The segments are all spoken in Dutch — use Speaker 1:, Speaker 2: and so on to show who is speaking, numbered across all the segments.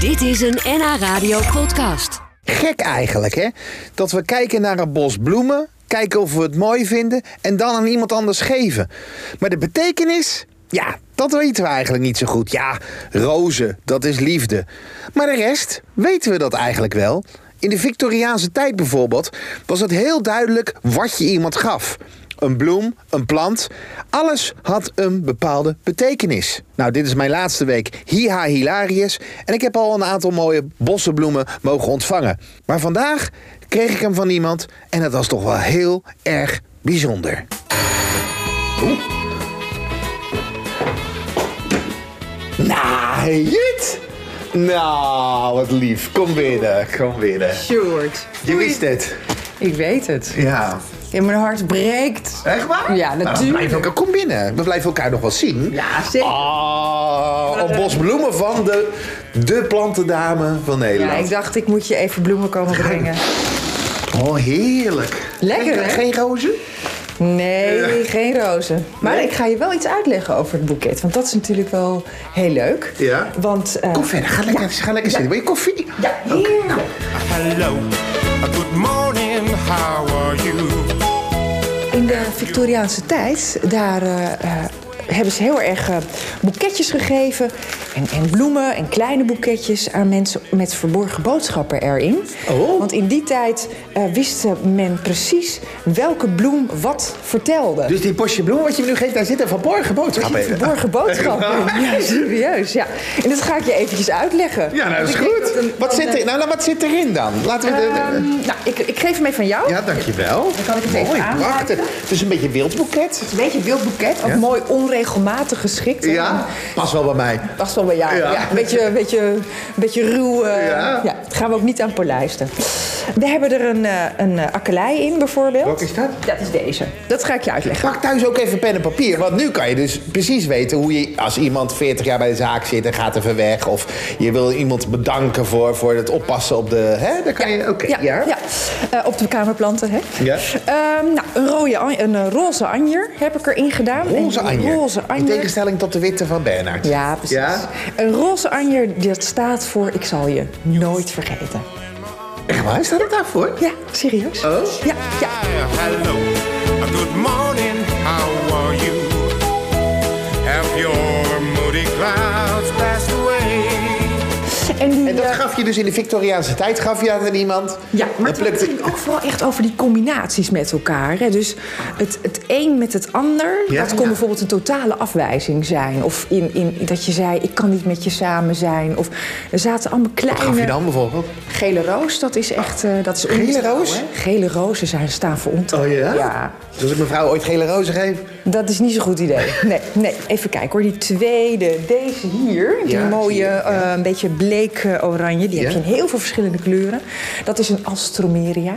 Speaker 1: Dit is een NH Radio podcast.
Speaker 2: Gek eigenlijk, hè? Dat we kijken naar een bos bloemen, kijken of we het mooi vinden en dan aan iemand anders geven. Maar de betekenis? Ja, dat weten we eigenlijk niet zo goed. Ja, rozen, dat is liefde. Maar de rest, weten we dat eigenlijk wel? In de Victoriaanse tijd bijvoorbeeld was het heel duidelijk wat je iemand gaf. Een bloem, een plant, alles had een bepaalde betekenis. Nou, dit is mijn laatste week Hiha Hilarius en ik heb al een aantal mooie bossenbloemen mogen ontvangen. Maar vandaag kreeg ik hem van iemand en dat was toch wel heel erg bijzonder. Oeh. Nou, Jut! Nou, wat lief. Kom binnen, kom binnen.
Speaker 3: Sjoerd.
Speaker 2: Je wist het.
Speaker 3: Ik weet het.
Speaker 2: Ja.
Speaker 3: Ja, mijn hart breekt.
Speaker 2: Echt waar?
Speaker 3: Ja,
Speaker 2: Nou, we
Speaker 3: natuurlijk.
Speaker 2: blijven elkaar, kom binnen. We blijven elkaar nog wel zien.
Speaker 3: Ja, zeker.
Speaker 2: Ah, Oh, een bos bloemen van de, de plantendame van
Speaker 3: Ja,
Speaker 2: Nederland.
Speaker 3: ik dacht, ik moet je even bloemen komen brengen.
Speaker 2: Oh, heerlijk.
Speaker 3: Lekker,
Speaker 2: Geen-
Speaker 3: hè?
Speaker 2: Geen rozen?
Speaker 3: Nee, geen rozen. Maar ik ga je wel iets uitleggen over het boeket. Want dat is natuurlijk wel heel leuk.
Speaker 2: Ja.
Speaker 3: Want... eh,
Speaker 2: Kom verder, ga lekker, ga lekker zitten. Wil je koffie?
Speaker 3: Ja, heerlijk.
Speaker 2: nou.
Speaker 4: Hello. Good morning. How are you?
Speaker 3: In de Victoriaanse tijd, daar eh, eh, hebben ze heel erg eh, boeketjes gegeven. En, en bloemen en kleine boeketjes aan mensen met verborgen boodschappen erin.
Speaker 2: Oh.
Speaker 3: Want in die tijd eh, wist men precies welke bloem wat vertelde.
Speaker 2: Dus die bosje bloemen wat je me nu geeft, daar zit een verborgen boodschap in.
Speaker 3: Verborgen boodschappen. Ja, serieus. Ja. En dat ga ik je eventjes uitleggen.
Speaker 2: Ja, nou, dat is
Speaker 3: Want ik denk dat
Speaker 2: goed.
Speaker 3: een-
Speaker 2: Wat
Speaker 3: een,
Speaker 2: zit, er, nou, nou, wat zit erin dan? Laten we de-
Speaker 3: eh,
Speaker 2: de-
Speaker 3: ehm, nou, ik, ik geef hem even aan jou.
Speaker 2: ja, dankjewel. Dan
Speaker 3: kan ik het
Speaker 2: Mooi,
Speaker 3: even aanmaken.
Speaker 2: prachtig. Het is een beetje een wildboeket.
Speaker 3: Een beetje wild boeket, ook
Speaker 2: Ja.
Speaker 3: mooi onregelmatig geschikt.
Speaker 2: Ja, pas wel bij mij.
Speaker 3: Past wel bij jou.
Speaker 2: Ja.
Speaker 3: Ja. een beetje, een beetje, een beetje ruw. eh,
Speaker 2: Ja.
Speaker 3: ja. dat gaan we ook niet aan polijsten. We hebben er een, eh, een eh, akkelei in bijvoorbeeld.
Speaker 2: Welke is dat?
Speaker 3: Dat is deze. Dat ga ik je uitleggen.
Speaker 2: Pak thuis ook even pen en papier, want nu kan je dus precies weten hoe je als iemand 40 jaar bij de zaak zit en gaat even weg. Of je wil iemand bedanken voor, voor het oppassen op de. Hè? Dan kan je. Oké,
Speaker 3: Ja, ja. Eh, op de kamerplanten, hè?
Speaker 2: Ja.
Speaker 3: Ehm, nou, een, rode, an- een eh, roze anjer heb ik erin gedaan.
Speaker 2: Roze
Speaker 3: Een
Speaker 2: anjer.
Speaker 3: Roze
Speaker 2: In
Speaker 3: anjer.
Speaker 2: tegenstelling tot de witte van Bernard.
Speaker 3: Ja, precies. Een roze anjer, dat staat voor ik zal je nooit vergeten.
Speaker 2: Echt waar? Staat het daarvoor?
Speaker 3: Ja, serieus?
Speaker 2: Oh.
Speaker 3: Ja, ja.
Speaker 4: Hello. Good morning. How are you? Have your moody clouds passed away?
Speaker 3: En, die,
Speaker 2: En dat
Speaker 3: eh,
Speaker 2: gaf je dus in de Victoriaanse tijd, gaf je dat aan iemand.
Speaker 3: Ja, maar
Speaker 2: Dan
Speaker 3: het gaat
Speaker 2: plukte-
Speaker 3: natuurlijk ook vooral echt over die combinaties met elkaar. Hè? Dus het, het een met het ander,
Speaker 2: Ja,
Speaker 3: dat kon
Speaker 2: ja.
Speaker 3: bijvoorbeeld een totale afwijzing zijn. Of in, in, dat je zei, ik kan niet met je samen zijn. Of er zaten allemaal kleine...
Speaker 2: Gaf je dan bijvoorbeeld?
Speaker 3: Gele roos, dat is echt... eh, dat is
Speaker 2: Gele
Speaker 3: ontrouw,
Speaker 2: roos?
Speaker 3: hè? Gele rozen zijn, staan voor ontrouw.
Speaker 2: Oh ja?
Speaker 3: Ja,
Speaker 2: Dus als ik mevrouw ooit gele rozen geef.
Speaker 3: dat is niet zo'n goed idee. Nee, nee, even kijken hoor. Die tweede, deze hier, die
Speaker 2: Ja,
Speaker 3: mooie,
Speaker 2: zie je, ja.
Speaker 3: eh, een beetje bleek eh, oranje. Die
Speaker 2: Ja.
Speaker 3: heb je in heel veel verschillende kleuren. Dat is een Alstroemeria.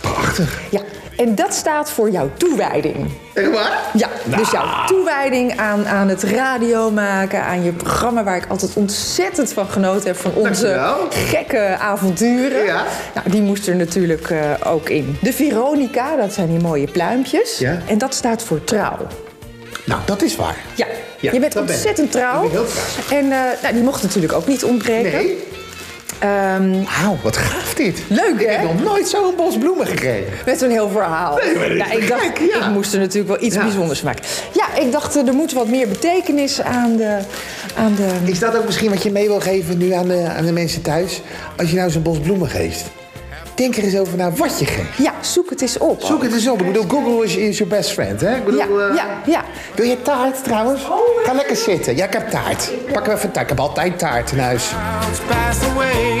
Speaker 2: Prachtig.
Speaker 3: Ja, en dat staat voor jouw toewijding.
Speaker 2: Echt waar?
Speaker 3: Ja, dus jouw toewijding aan, aan het radio maken, aan je programma... waar ik altijd ontzettend van genoten heb van onze
Speaker 2: Dankjewel.
Speaker 3: gekke avonturen.
Speaker 2: Ja.
Speaker 3: Nou, die moest er natuurlijk eh, ook in. De Veronica, dat zijn die mooie pluimpjes.
Speaker 2: Ja.
Speaker 3: En dat staat voor trouw.
Speaker 2: Nou, dat is waar.
Speaker 3: Ja,
Speaker 2: Ja,
Speaker 3: je bent
Speaker 2: dat ben ik.
Speaker 3: ontzettend trouw.
Speaker 2: Ik ben heel trouw.
Speaker 3: En eh, nou, die mocht natuurlijk ook niet ontbreken.
Speaker 2: Nee?
Speaker 3: Ehm,
Speaker 2: Wauw, wat gaaf dit.
Speaker 3: Leuk,
Speaker 2: Ik
Speaker 3: hè?
Speaker 2: heb nog nooit zo'n bos bloemen gekregen.
Speaker 3: Met een heel verhaal.
Speaker 2: Nee, maar dit is
Speaker 3: ja, ik
Speaker 2: gek,
Speaker 3: dacht,
Speaker 2: ja.
Speaker 3: ik moest er natuurlijk wel iets
Speaker 2: Ja.
Speaker 3: bijzonders maken. Ja, ik dacht, eh, er moet wat meer betekenis aan de... Aan de...
Speaker 2: Is dat ook misschien wat je mee wil geven nu aan de, aan de mensen thuis? Als je nou zo'n bos bloemen geeft. Denk er eens over na wat je geeft.
Speaker 3: Ja, zoek het eens op.
Speaker 2: Zoek het eens op. Ik bedoel, Google is, is your best friend, hè? Ik bedoel,
Speaker 3: Ja,
Speaker 2: eh,
Speaker 3: ja, ja.
Speaker 2: Wil je taart trouwens? Ga lekker zitten. Ja, ik heb taart. Pak hem even taart. Ik heb altijd taart in huis.
Speaker 4: Clouds passed away.